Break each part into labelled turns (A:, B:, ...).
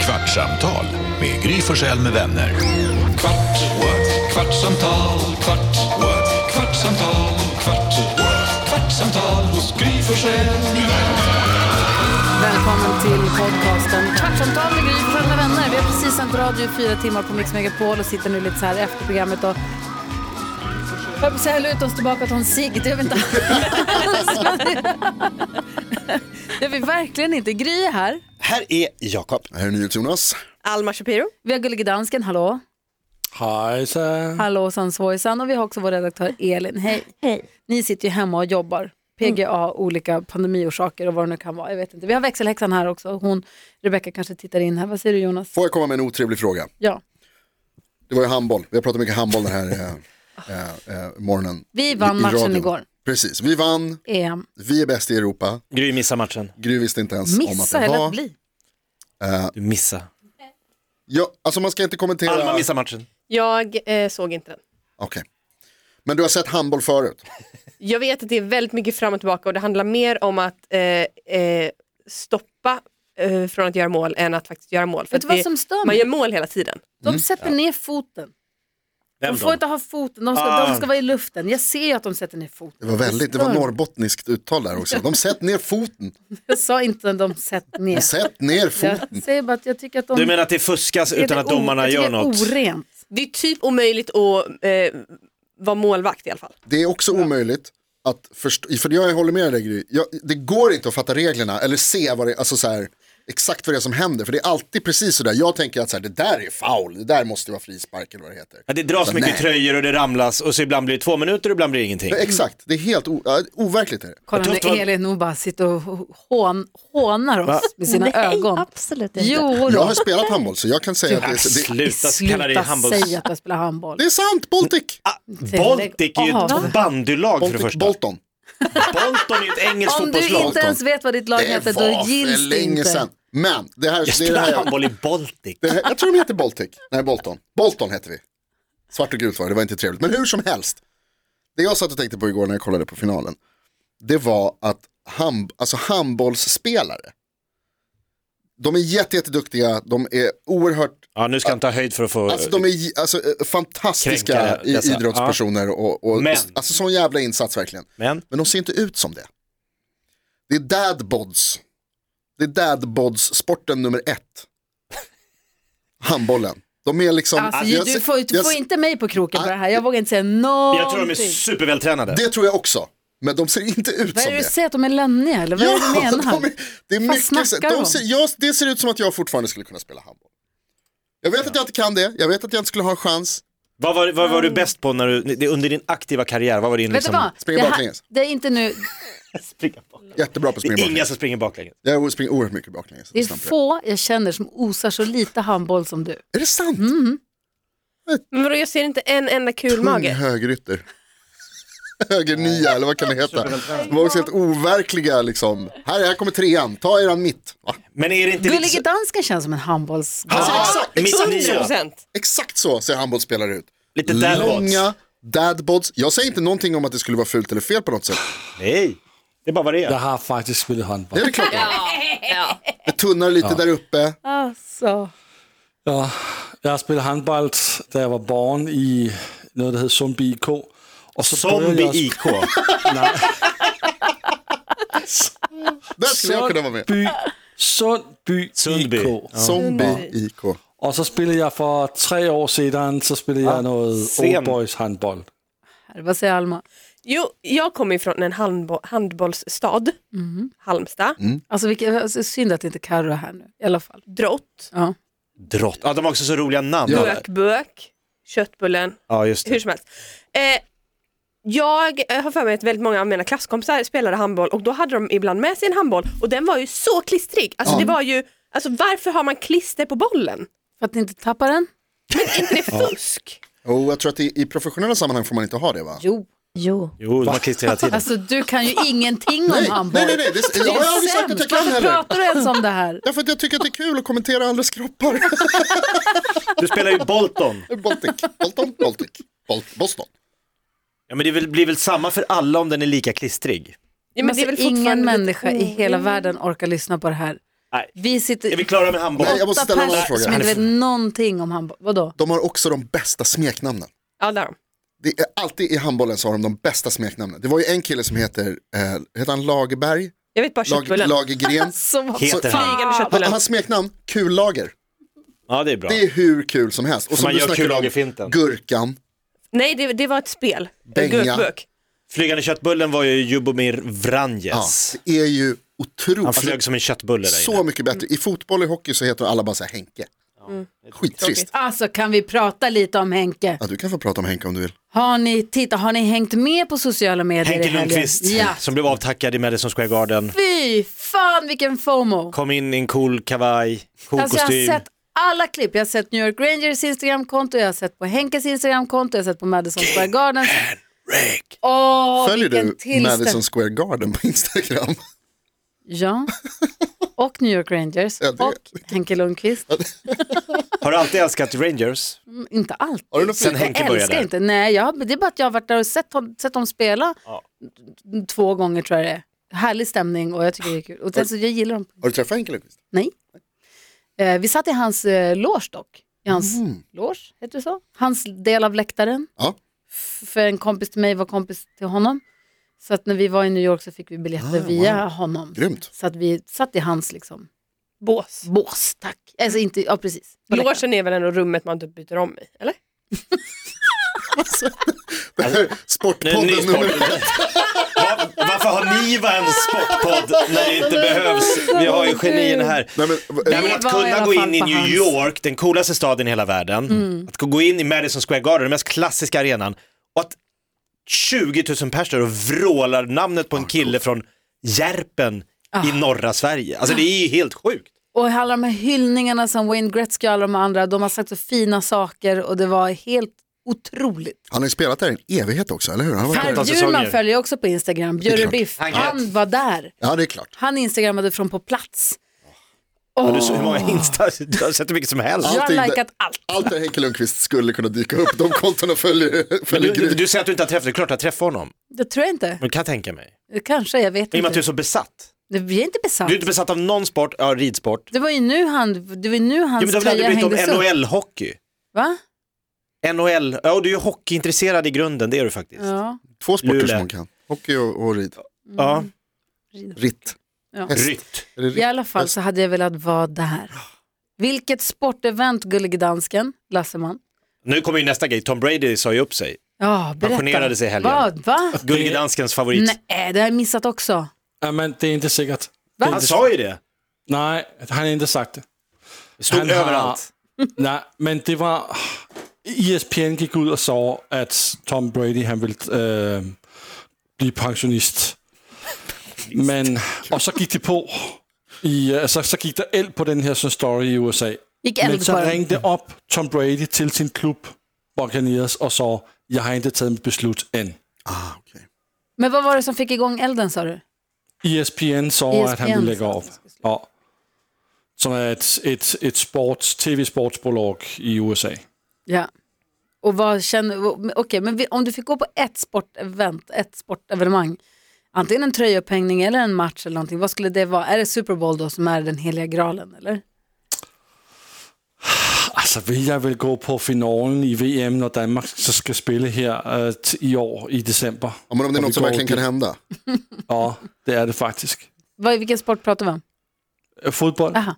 A: Kvartsamtal med Gry Forssell med vänner.
B: Kvart, what? kvartsamtal, kvart, what? kvartsamtal, kvart, what? kvartsamtal hos Gry Forssell med vänner.
C: Välkommen till podcasten Kvartsamtal med Gry Forssell med vänner. Vi har precis sänt radio i fyra timmar på Mix Megapol och sitter nu lite så här efter programmet och jag höll på att säga luta oss tillbaka till en cigg, det gör vi inte alls. Men det- Det gör vi verkligen inte. Gry är här.
D: Här är Jakob.
E: Här är NyhetsJonas.
F: Alma Shapiro.
C: Vi har Gullige Dansken, hallå.
G: Hejsan.
C: Hallå Sansvojsan. Och vi har också vår redaktör Elin, hej.
F: Hej.
C: Ni sitter ju hemma och jobbar. PGA, olika pandemiorsaker och vad det nu kan vara. Jag vet inte. Vi har växelhäxan här också. Hon, Rebecka kanske tittar in här. Vad säger du Jonas?
E: Får jag komma med en otrevlig fråga?
C: Ja.
E: Det var ju handboll, vi har pratat mycket handboll den här eh, eh, morgonen.
C: Vi vann matchen
E: radion.
C: igår.
E: Precis, vi vann,
C: EM.
E: vi är bäst i Europa.
G: Gry missade matchen.
E: Gry visste inte ens om att
C: Missa
E: det
C: eller
E: var.
C: att bli.
G: Du missade.
E: Ja, alltså man ska inte kommentera.
G: Alma missade matchen.
F: Jag eh, såg inte den.
E: Okej. Men du har sett handboll förut?
F: Jag vet att det är väldigt mycket fram och tillbaka och det handlar mer om att eh, eh, stoppa eh, från att göra mål än att faktiskt göra mål. För
C: Vet du
F: att
C: vad
F: det,
C: som stör
F: man
C: mig?
F: gör mål hela tiden.
C: De sätter ner foten. De
G: Vem
C: får
G: då?
C: inte ha foten, de ska, de ska vara i luften. Jag ser ju att de sätter ner foten.
E: Det var väldigt, det var norrbottniskt uttal där också. De sätt ner foten,
C: Jag sa inte att de sätter ner.
E: sätt ner foten.
C: Jag säger bara att jag tycker att de...
G: Du menar att det fuskas
C: det är
G: utan att
C: o-
G: domarna
C: jag tycker
G: gör
C: det är
G: något?
C: orent.
F: Det är typ omöjligt att eh, vara målvakt i alla fall.
E: Det är också omöjligt att förstå, för jag håller med dig Gry, jag, det går inte att fatta reglerna eller se vad det, alltså så här, exakt vad det är som händer. För det är alltid precis sådär, jag tänker att så här, det där är foul, det där måste vara frispark eller vad det heter.
G: Ja, det dras
E: Så,
G: mycket
E: nej.
G: tröjor och det ramlas och så ibland blir det två minuter och ibland blir det ingenting.
E: Ja, Exakt, det är helt o, ja, overkligt. Är det.
C: Kolla
G: tror
C: nu,
G: att det var-
C: Elin hon bara sitter och hån, hånar oss med sina ögon.
H: absolut inte.
C: Jo,
E: Jag har
C: då.
E: spelat handboll så jag kan säga att
G: Ja,
E: det, är- det,
G: sluta kalla det handbolls...
C: säga att jag spelar handboll.
E: det är sant, Baltic!
G: Baltic Ah, är ju
C: Jaha.
G: ett bandylag för det
E: Baltic
G: första.
E: Bolton.
G: Bolton är ju ett engelskt
C: Om du
G: fotbollslag.
C: inte ens vet vad ditt lag heter, då gills det inte.
E: Men, det här, det är det här
G: Jag spelar
E: jag,
G: handboll i Baltic.
E: Det här, jag tror de heter Baltic. Nej, Bolton. Bolton heter vi. Svart och gult var det, det var inte trevligt. Men hur som helst. Det jag satt och tänkte på igår när jag kollade på finalen. Det var att hand, alltså handbollsspelare. De är jätte, jätteduktiga, de är oerhört,
G: Ja, nu ska han ta höjd för att få...
E: alltså de är j- alltså, eh, fantastiska
G: Kränkare,
E: i,
G: dessa.
E: idrottspersoner och, och
G: Men-
E: alltså sån jävla insats verkligen.
G: Men,
E: Men de ser inte ut som det. Det är dad bods. Det är dad bods sporten nummer ett. Handbollen. De är liksom...
C: Alltså,
E: jag
C: du
E: ser-
C: får, du
E: jag
C: får
E: ser-
C: inte mig på kroken på
E: Ah,
C: det här. Jag vågar inte säga
G: jag tror de är
C: någonting.
G: supervältränade.
E: Det tror jag också. Men de ser inte ut
C: Vad är
E: som
C: det du
E: det.
C: säger att de är lönniga eller vad är det du menar?
E: de är, det är
C: Vad
E: mycket, så-
C: snackar du om?
E: de ser, jag, det ser ut som att jag fortfarande skulle kunna spela handboll. Jag vet att jag inte kan det, jag vet att jag inte skulle ha en chans.
G: Vad var, vad var du bäst på när du, det- under din aktiva karriär? Vad var din
C: Vet du vad?
G: liksom...
E: spring
C: Det här-
E: baklänges.
C: Det är inte nu,
G: Springa baklänges.
E: Jättebra på att
G: Det
E: springa
G: är ingen
E: baklänges.
G: som springer baklänges.
E: Jag springer oerhört mycket baklänges.
C: det är
E: Snabbare.
C: få jag känner som osar så lite handboll som du.
E: Är det sant?
C: Mm.
F: Men vadå, jag ser inte en enda
E: Tung
F: kulmage.
E: högerytter. Högernia eller vad kan det heta? De var också helt overkliga liksom. Här, här kommer trean, ta eran mitt. Va?
G: Men är det inte
C: Gullige
G: lite...
C: dansken känns som en handbolls...
E: Alltså,
G: Ah,
E: exakt,
G: mitt
E: exakt,
G: nya.
E: så,
F: 100%.
E: exakt så ser handbollsspelare ut.
G: Lite dad bods.
E: Långa dadbods. Jag säger inte någonting om att det skulle vara fult eller fel på något sätt.
G: Nej, det är bara vad det är. Ja.
H: Jag har faktiskt spelat handboll.
E: Det är det klart. Det tunnar lite där uppe.
C: Alltså,
H: Ja, jag har spelat handboll där jag var barn i något som heter Sundby IK. Och så började
G: Zombie
H: jag-
G: IK.
H: Nej,
E: Där skulle jag kunna vara med.
H: Sundby, Sundby,
G: Sundby.
H: IK.
E: Zombie IK.
H: Och så spelade jag för tre år sedan så spelade jag något
G: sen.
H: Old Boys handboll.
C: här, vad säger Alma?
F: Jo, jag kommer ifrån en handbo- handbollsstad,
C: Mm.
F: Halmstad,
G: Mm.
C: Alltså, vilka, alltså synd att inte Carro är här nu i alla fall.
F: Drott,
C: Ja.
G: Drott. Ja, de har också så roliga namn. Ja,
F: Bökbök, Köttbullen,
G: just
F: hur
G: det.
F: som helst. Eh, jag eh, har för mig att väldigt många av mina klasskompisar spelade handboll och då hade de ibland med sig en handboll och den var ju så klistrig. Alltså det var ju, alltså varför har man klister på bollen?
C: För att ni inte tappar den?
F: Är inte det fusk?
E: Och jag tror att i, i professionella sammanhang får man inte ha det va?
C: Jo.
H: Jo.
G: Jo, de har klister hela tiden.
C: Alltså du kan ju ingenting om
E: Nej,
C: handboll.
E: nej, nej, nej. Det, jag
C: Du är
E: har aldrig sagt att
C: sämst.
E: jag kan
C: Varför
E: heller.
C: pratar du ens om det här?
E: Därför att jag tycker att det är kul att kommentera andras kroppar.
G: Du spelar ju Bolton.
E: Baltic, Bolton, Baltic, Bol- Boston.
G: Ja, men det är väl- blir väl samma för alla om den är lika klistrig.
F: Ja,
C: men alltså,
F: väl
C: ingen
F: fortfarande lite
E: Mm.
C: människa i hela
F: orimligt.
C: världen orkar lyssna på det här.
G: Nej.
C: Vi sitter
G: Är vi klara med handboll?
E: Nej, jag måste
C: åtta
E: ställa en annan
C: pers
E: fråga.
C: som inte vet någonting om handboll. Vadå?
E: De har också de bästa smeknamnen.
F: Ja, där.
E: Det är alltid i handbollen så har de de bästa smeknamnen. Det var ju en kille som heter, eh, heter han Lagerberg?
F: Jag vet
E: Lag,
F: bara
E: Ah, alltså-
F: köttbullen.
E: Lagergren.
C: Så vad
E: alltså-
G: Heter han?
F: Flygande
E: Han,
F: köttbullen.
E: hans smeknamn, Kullager.
G: Ja, det är bra.
E: Det är hur kul som helst. Och som
G: man
E: du
G: gör
E: snackade om,
G: kullagerfinten.
E: Gurkan,
F: Nej, det, det var ett spel.
E: Benga.
F: En gurkburk.
G: Flygande köttbullen var ju Jubomir
E: ja,
G: Vranjes.
E: det är ju otroligt.
G: Han flög
E: Alltså,
G: som en köttbulle där
E: så
G: inne.
E: mycket bättre. I fotboll och hockey så heter alla bara så här Henke. Skittrist.
C: Alltså kan vi prata lite om Henke?
E: Ja, du kan få prata om Henke om du vill.
C: Har ni, titta, har ni hängt med på sociala medier i
G: Henke
C: helgen?
G: Lundqvist
C: Ja.
G: som blev avtackad i Madison Square Garden.
C: Fy fan vilken fomo.
G: Kom in i en cool kavaj, cool
C: Alltså jag har
G: kostym.
C: sett alla klipp. Jag har sett New York Rangers Instagramkonto, jag har sett på Henkes Instagramkonto, jag har sett på Madison Square Gardens. Åh,
E: Följer
C: vilken
E: du
C: tillställ-
E: Madison Square Garden på Instagram?
C: Ja, och New York Rangers
E: Ja, det-
C: och Henke Lundqvist.
G: Har du alltid älskat Rangers?
C: Mm, Inte allt.
E: Har du något
G: Sen
E: fint?
G: Henke
C: jag älskar
G: började.
C: inte. Nej, jag, det är bara att jag har varit där och sett, hon- sett dem spela två gånger tror jag det är. Härlig stämning och jag tycker det är kul. Och sen, så jag gillar dem.
E: Har du träffat Henke Lundqvist?
C: Nej. Eh, vi satt i hans eh, loge dock. I hans loge, heter det så? Hans del av läktaren.
E: Mm. Ja.
C: F- För en kompis till mig var kompis till honom. Så att när vi var i New York så fick vi biljetter via honom.
E: Ah, Grymt.
C: Så att vi satt i hans liksom,
F: Bås.
C: bås, tack. Alltså inte, ja precis. På läktaren.
F: Logen är väl ändå rummet man typ byter om i, eller?
E: Det här är
G: Nej, ny
E: Sportpodden
G: sport.
E: nummer
G: Va- Varför har ni en sportpodd när det inte behövs? Vi har ju genierna här.
E: Nej, men,
G: Nej, men
C: Vi
G: att
C: var i alla
G: kunna gå
C: fall
G: in i
C: på
G: New
C: hans- Mm.
G: York, den coolaste staden i hela världen, att gå in i Madison Square Garden, den mest klassiska arenan, och att 20 000 pers där och vrålar namnet på en kille från Järpen
C: Ah.
G: i norra Sverige. Alltså det är ju helt sjukt.
C: Och alla de här hyllningarna som Wayne Gretzky och alla de andra, de har sagt så fina saker och det var helt otroligt.
E: Han har ju spelat där i en evighet också, eller hur? Han har varit
C: Per
E: där.
G: Fantastiskt.
C: Bjurman
G: säsonger.
C: följer jag också på Instagram, Bjurre Biff,
G: Han
C: han var där.
E: Ja, det är klart.
C: Han instagrammade från på plats.
G: Har du så, hur många
C: Ah.
G: Insta, du har sett hur mycket som helst.
E: Ja.
C: Jag
E: Allting
C: har
E: där-
C: likat allt.
E: Allt där Henke Lundqvist skulle kunna dyka upp, de kontona följer,
G: Men
E: följer
G: Du, du,
E: grymt.
G: du säger att du inte har träffat, det är klart jag träffar honom.
C: Det tror jag inte.
G: Men kan jag tänka mig.
C: Kanske, jag vet
G: I och med
C: inte.
G: att du är så besatt.
C: Det- Vi är inte besatta.
G: Du är inte besatt av någon sport, ja ridsport.
C: Det var ju nu, han, det var ju nu
G: Ja, men
C: hans
G: du har väl
C: tröja
G: aldrig
C: hängdes
G: brytt om
C: upp.
G: NHL-hockey?
C: Va?
G: NHL, ja och du är ju hockeyintresserad i grunden, det är du faktiskt. Ja.
C: Ja.
E: Två sporter
G: Luleå.
E: som man kan, hockey och, och rid. Ritt.
C: Ja.
E: Häst.
G: Rytt.
E: Är det
C: I
E: ritt?
C: alla fall så hade jag velat vara där. Vilket sportevent, gullig dansken, Lasseman.
G: Nu kommer ju nästa grej, Tom Brady sa ju upp sig.
C: Ja, berätta.
G: Pensionerade sig i helgen.
C: Vad? Va?
G: Gullige danskens favorit.
C: Nej, det har jag missat också.
H: Ja, men det är inte säkert.
C: Va?
G: Han sa ju det.
H: Nej, han har inte sagt det.
G: Det Stod
H: Han har-
G: överallt.
H: Nej, men det var... E ESPN gick ut och sa att Tom Brady han vill øh, bli pensionist. Men, och så gick det på. I, øh, så, så gick det eld på den här sån story i USA.
C: Gick
H: Men
C: eld på
H: så
C: den.
H: ringde upp Tom Brady till sin klubb Buccaneers och sa jag har inte tagit mitt beslut än.
E: Ah, okej.
C: Men vad var det som fick igång elden sa du?
H: ESPN sa att han
C: ESPN
H: vill lägga
C: sa
H: av. Ja. Som är ett, ett, ett sports, tv-sportsbolag i USA.
C: Ja. Och vad känner, okej, men vi, om du fick gå på ett sportevent, ett sportevenemang, antingen en tröjupphängning eller en match eller någonting, vad skulle det vara? Är det Super Bowl då som är den heliga graalen eller?
H: Altså, vil jeg vil gå på finalen i VM, når Danmark så skal spille her øh, t- i år i december.
E: Ja, men om det är något som verkligen kan hända.
H: Ja, det er det faktisk.
C: Vad, vilken sport pratar vi om?
H: Øh, Fodbold,
C: Aha.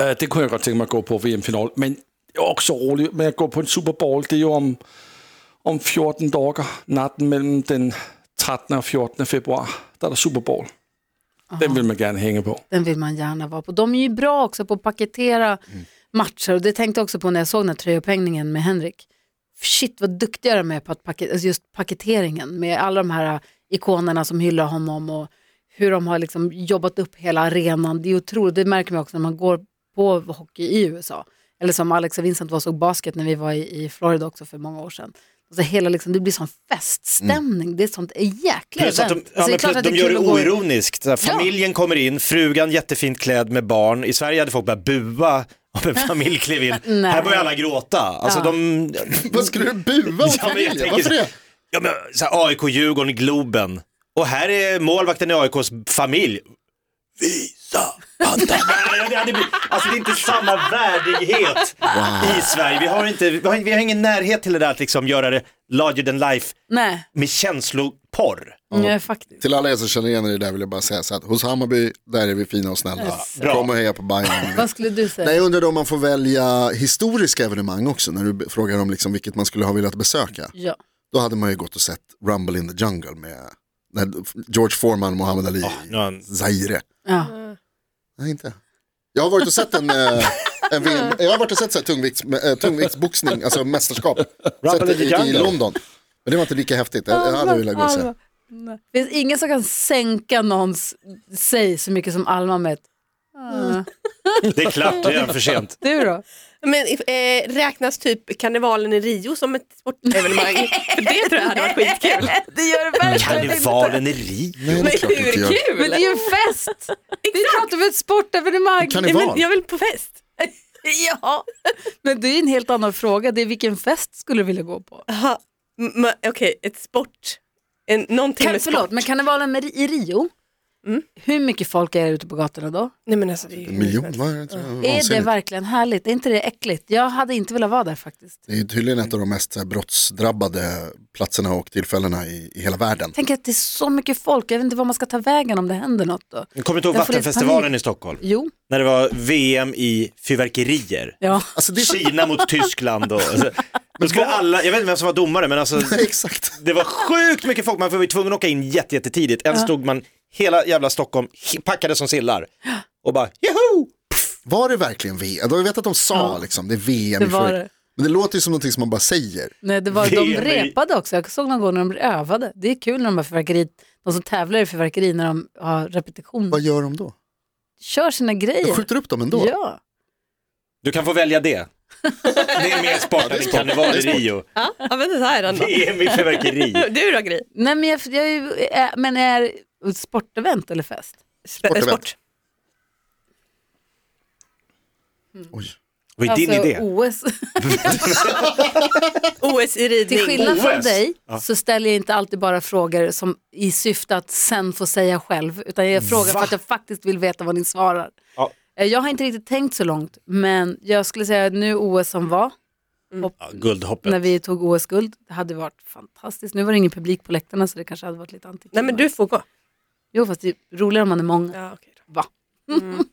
H: øh, det kunne jeg godt tænke mig at gå på VM-final, men det er også roligt med at gå på en Super Bowl. Det er jo om, om 14 dage, natten mellem den 13. og 14. februar, der er der Super Bowl. Den vil man gerne hænge på.
C: Den vill man gärna vara på. De är ju bra också på att paketera
G: Mm.
C: matcher och det tänkte jag också på när jag såg den här tröjupphängningen med Henrik. Shit vad duktiga de är på att paket, alltså just paketeringen med alla de här ikonerna som hyllar honom och hur de har liksom jobbat upp hela arenan. Det är otroligt, det märker man också när man går på hockey i USA. Eller som Alex och Vincent var och såg basket när vi var i, i Florida också för många år sedan. Alltså hela liksom, det blir sån feststämning, det är sånt jäkla
G: Mm. Plus att de,
C: event.
G: ja,
C: Alltså det är
G: men
C: klart
G: plus
C: att
G: de
C: är
G: gör
C: kul
G: det
C: att gå i-
G: oironiskt. Så här, Familjen kommer in, frugan jättefint klädd med barn. I Sverige hade folk börjat bua om en familj klev in.
C: Nej.
G: Här börjar alla gråta. Alltså
C: Ja.
G: de...
E: Vad skulle du bua åt
G: Ja, men jag
E: familjen?
G: tänker-
E: Varför det?
G: Ja, men, så här, AIK, Djurgården, Globen. Och här är målvakten i AIKs familj. Vi panda, panda. Nej, det, hade blivit, alltså det är inte samma värdighet i Sverige. Vi har, inte, vi, har, vi har ingen närhet till det där att liksom göra det larger than life
C: Nej,
G: med känsloporr.
C: nej faktiskt.
E: Till alla er som känner igen er i det där vill jag bara säga så att hos Hammarby, där är vi fina och snälla.
G: Bra.
E: Kom och heja på Bayern.
C: Vad skulle du säga?
E: Nej, jag undrar om man får välja historiska evenemang också när du be- frågar om liksom vilket man skulle ha velat besöka.
C: Ja.
E: Då hade man ju gått och sett Rumble in the Jungle med när George Foreman och Muhammad Ali
G: Nu har han-
E: i Zaire.
C: Ja.
E: Nej, inte. Jag har varit och sett en, eh, en VM, jag har varit och sett så här tungvikts, eh, tungviktsboxning, alltså mästerskap. Sett
G: in
E: det
G: the
E: i, i
G: jungle.
E: London. Men det var inte lika häftigt, jag, jag hade velat gå och se.
C: Alma. Nej. Det finns ingen som kan sänka någons sig så mycket som Alma med ett
F: Mm.
C: "Ah."
G: Det är klart, det är redan för sent.
C: Du då?
F: Men eh, räknas typ karnevalen i Rio som ett sportevenemang? För det tror jag hade varit skitkul.
C: Det gör det verkligen
G: Karnevalen i Rio.
E: Nej, det är klart inte jag.
C: Men det är ju en fest! Vi pratar om ett sportevenemang.
E: Kan
F: Nej,
E: det vara?
F: men jag vill på fest.
C: Ja, men det är en helt annan fråga. Det är vilken fest skulle du vilja gå på?
F: Aha. M- men Okej, ett sport. En, någonting
C: Kan,
F: med sport. Mm.
C: förlåt, men karnevalen med- i Rio, hur mycket folk är det ute på gatorna då?
F: Nej, men alltså, det är ju
E: En miljon, vad är det? Vansinnigt.
C: Är det verkligen härligt? Är inte det äckligt? Jag hade inte velat vara där faktiskt.
E: Det är ju tydligen ett av de mest så här, brottsdrabbade platserna och tillfällena i, i hela världen.
C: Tänk att det är så mycket folk, jag vet inte var man ska ta vägen om det händer något då.
G: Jag kommer inte ihåg
C: Jag får lite
G: Vattenfestivalen
C: panik.
G: i Stockholm.
C: Jo,
G: När det var VM i fyrverkerier.
C: ja.
E: Alltså, det är så...
G: Kina mot Tyskland och... Alltså, då skulle alla, jag vet inte vem som var domare men alltså
E: Exakt.
G: det var sjukt mycket folk, man var ju tvungen att åka in jätte- jättetidigt. Eller stod man hela jävla Stockholm he- packade som sillar och bara joho!
E: Var det verkligen VM? Jag vet att de sa liksom, det är VM
C: Det
E: i
C: var
E: förr-
C: det.
E: Men det låter ju som någonting som man bara säger.
C: Nej, det var, de
G: VM i-
C: repade också. Jag såg någon gång när de övade. Det är kul när de, har fyrverkeri, de som tävlar i fyrverkeri när de har repetition.
E: Vad gör de då?
C: Kör sina
E: De
C: grejer.
E: skjuter upp dem ändå.
C: Ja.
G: Du kan få välja det. Det är mer sport än karneval i Rio.
F: Ja, ja, men så här är den då.
G: VM i fyrverkeri.
F: Du då Gry?
C: Nej, men, jag, jag, är ju- är- men är ett sportevent eller fest?
F: Sp- eh,
E: Sportevent.
F: sport.
E: Oj.
G: Vad är
C: Alltså,
F: Alltså,
G: din idé?
C: OS.
F: OS
C: Till
F: i ridning.
C: skillnad från
G: OS?
C: dig så ställer jag inte alltid bara frågor som, i syfte att sen få säga själv, utan jag frågar för att jag faktiskt vill veta vad ni svarar.
G: Ja.
C: Eh, Jag har inte riktigt tänkt så långt, men jag skulle säga att nu OS som var,
G: Ja, guldhoppet.
C: när vi tog OS-guld, det hade varit fantastiskt. Nu var det ingen publik på läktarna så det kanske hade varit lite antiklimax.
F: Nej men du får gå.
C: Jo, fast det är roligare om man är många.
F: Ja, okej då. Mm.
C: Va?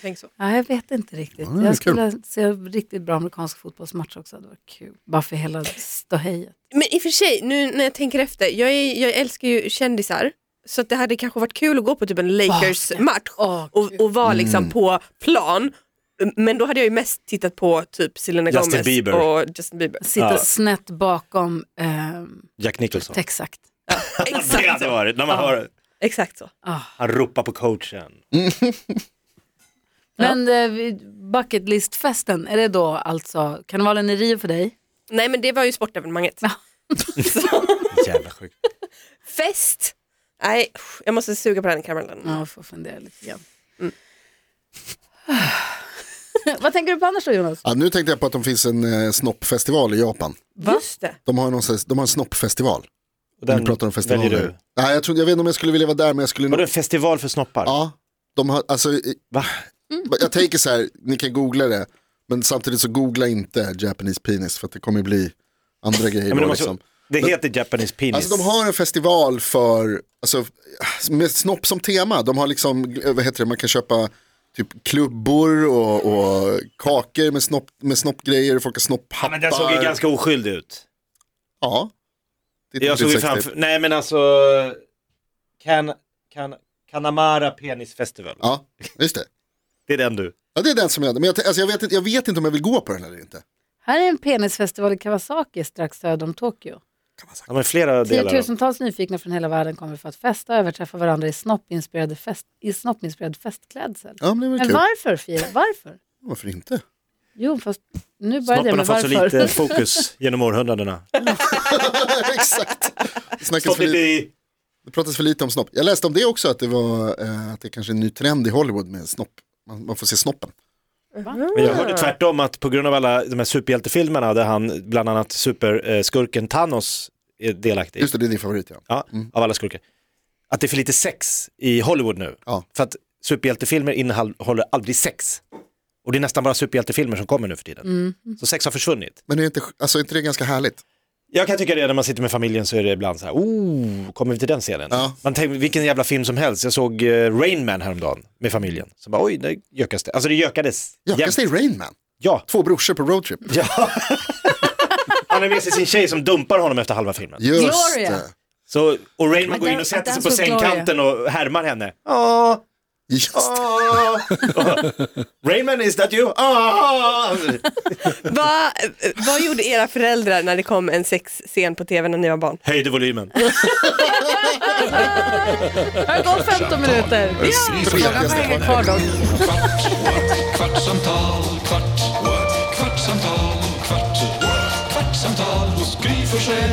F: Tänk så.
C: Ja, jag vet inte riktigt.
E: Ja, det är
C: jag skulle se en riktigt bra amerikansk fotbollsmatch också, det hade varit kul. Bara för hela ståhejet.
F: Men i och för sig, nu när jag tänker efter, jag, är, jag älskar ju kändisar. Så att det hade kanske varit kul att gå på typ en Lakers-match
C: Åh,
F: och, och vara liksom
E: Mm.
F: på plan. Men då hade jag ju mest tittat på typ Selena
G: Justin
F: Gomez
G: Bieber.
F: och Justin Bieber.
C: Sitta
G: Ja.
C: snett bakom, ehm,
G: Jack Nicholson.
C: exakt.
G: Det
F: Exakt
G: hade
F: så.
G: varit, när man hör
F: Exakt så.
G: han ropar på coachen.
C: Men eh, vi- bucket list-festen, är det då alltså karnevalen i Rio för dig?
F: Nej men det var ju sportevenemanget.
G: Jävla sjukt.
F: Fest? Nej, usch, jag måste suga på den karamellen.
C: Ja, jag får fundera lite grann.
G: Mm.
C: Vad tänker du på annars då Jonas?
E: Ja, nu tänkte jag på att de finns en eh, snoppfestival i Japan.
F: Just det.
E: De har, någon, slags- de har en snoppfestival. Den, du pratar om festivaler.
G: väljer du.
E: Nej, jag, tror, jag vet inte om jag skulle vilja vara där, men jag skulle
G: Var
E: nog...
G: det en festival för snoppar?
E: Ja, de har, alltså, i-
G: Va?
E: jag tänker så här, ni kan googla det, men samtidigt så googla inte Japanese penis för att det kommer bli andra grejer.
G: Ja, men
E: då,
G: det, måste,
E: liksom.
G: det heter Japanese penis.
E: Alltså de har en festival för, alltså, med snopp som tema. De har liksom, eh, vad heter det, man kan köpa typ klubbor och, och kakor med, snopp, med snoppgrejer, folk har snopphattar.
G: ja, men den såg ju ganska oskyldig ut.
E: Ja. Det är
G: Jag såg ju
E: riktigt
G: framför,
E: sexigt.
G: nej men alltså, kan, kan, Kanamara Penis Festival.
E: Ja, just det.
G: Det är den du.
E: Ja, det är den som jag, men jag, alltså, jag, vet, inte- jag vet inte om jag vill gå på den eller inte.
C: Här är en penisfestival i Kawasaki strax söder om Tokyo.
G: Ja men flera delar. av-
C: Tiotusentals nyfikna från hela världen kommer för att festa och överträffa varandra i snoppinspirerade fest, i snoppinspirerad festklädsel.
E: Ja, men det är väl
C: Men
E: kul.
C: varför Fia? Varför?
E: Varför inte?
C: Jo, fast nu började jag
G: Snoppen har
C: med
G: fått
C: varför.
G: så lite fokus genom århundradena.
E: Exakt. Det, snackas
G: Stått
E: för
G: lite
E: lite,
G: i,
E: det pratas för lite om snopp. Jag läste om det också, att det, var, eh, att det kanske är en ny trend i Hollywood med snopp. Man, man får se snoppen.
G: men jag hörde tvärtom att på grund av alla de här superhjältefilmerna där han, bland annat superskurken Thanos är delaktig. Mm.
E: Just det, det är din favorit ja.
G: Ja, av alla skurkar. Att det är för lite sex i Hollywood nu.
E: Ja.
G: För att superhjältefilmer innehåller aldrig sex. Och det är nästan bara superhjältefilmer som kommer nu för tiden. Så sex har försvunnit.
E: Men är inte, alltså, är inte det ganska härligt?
G: Jag kan tycka det när man sitter med familjen så är det ibland så här, oh, kommer vi till den scenen?
E: Ja.
G: Man tänker, vilken jävla film som helst. Jag såg eh, Rain Man häromdagen med familjen. Så bara, oj, det gökas det. Alltså det gökades.
E: Gökas det i
G: jämt.
E: Rain Man?
G: Ja.
E: Två brorsor på roadtrip.
G: ja. Han har med sig sin tjej som dumpar honom efter halva filmen.
E: Just
C: Gloria.
E: det.
G: Så, och Rainman
C: Men
G: går in
C: den-
G: och sätter
C: den
G: sig på
C: så glad jag är.
G: sängkanten och härmar henne. "Ah, Åh,
E: Just det.
G: åh. Rainman, is that you? "Ah." Alltså, Åh.
F: Va, eh, vad gjorde era föräldrar när det kom en sexscen på tv när ni var barn?
G: Höjde volymen.
C: Har det gått 15 minuter? Ja! Frågan får hänga kvar dock.
B: Kvart, what? kvartsamtal, kvart, what? kvartsamtal, kvart, what? kvartsamtal hos Gry Forssell.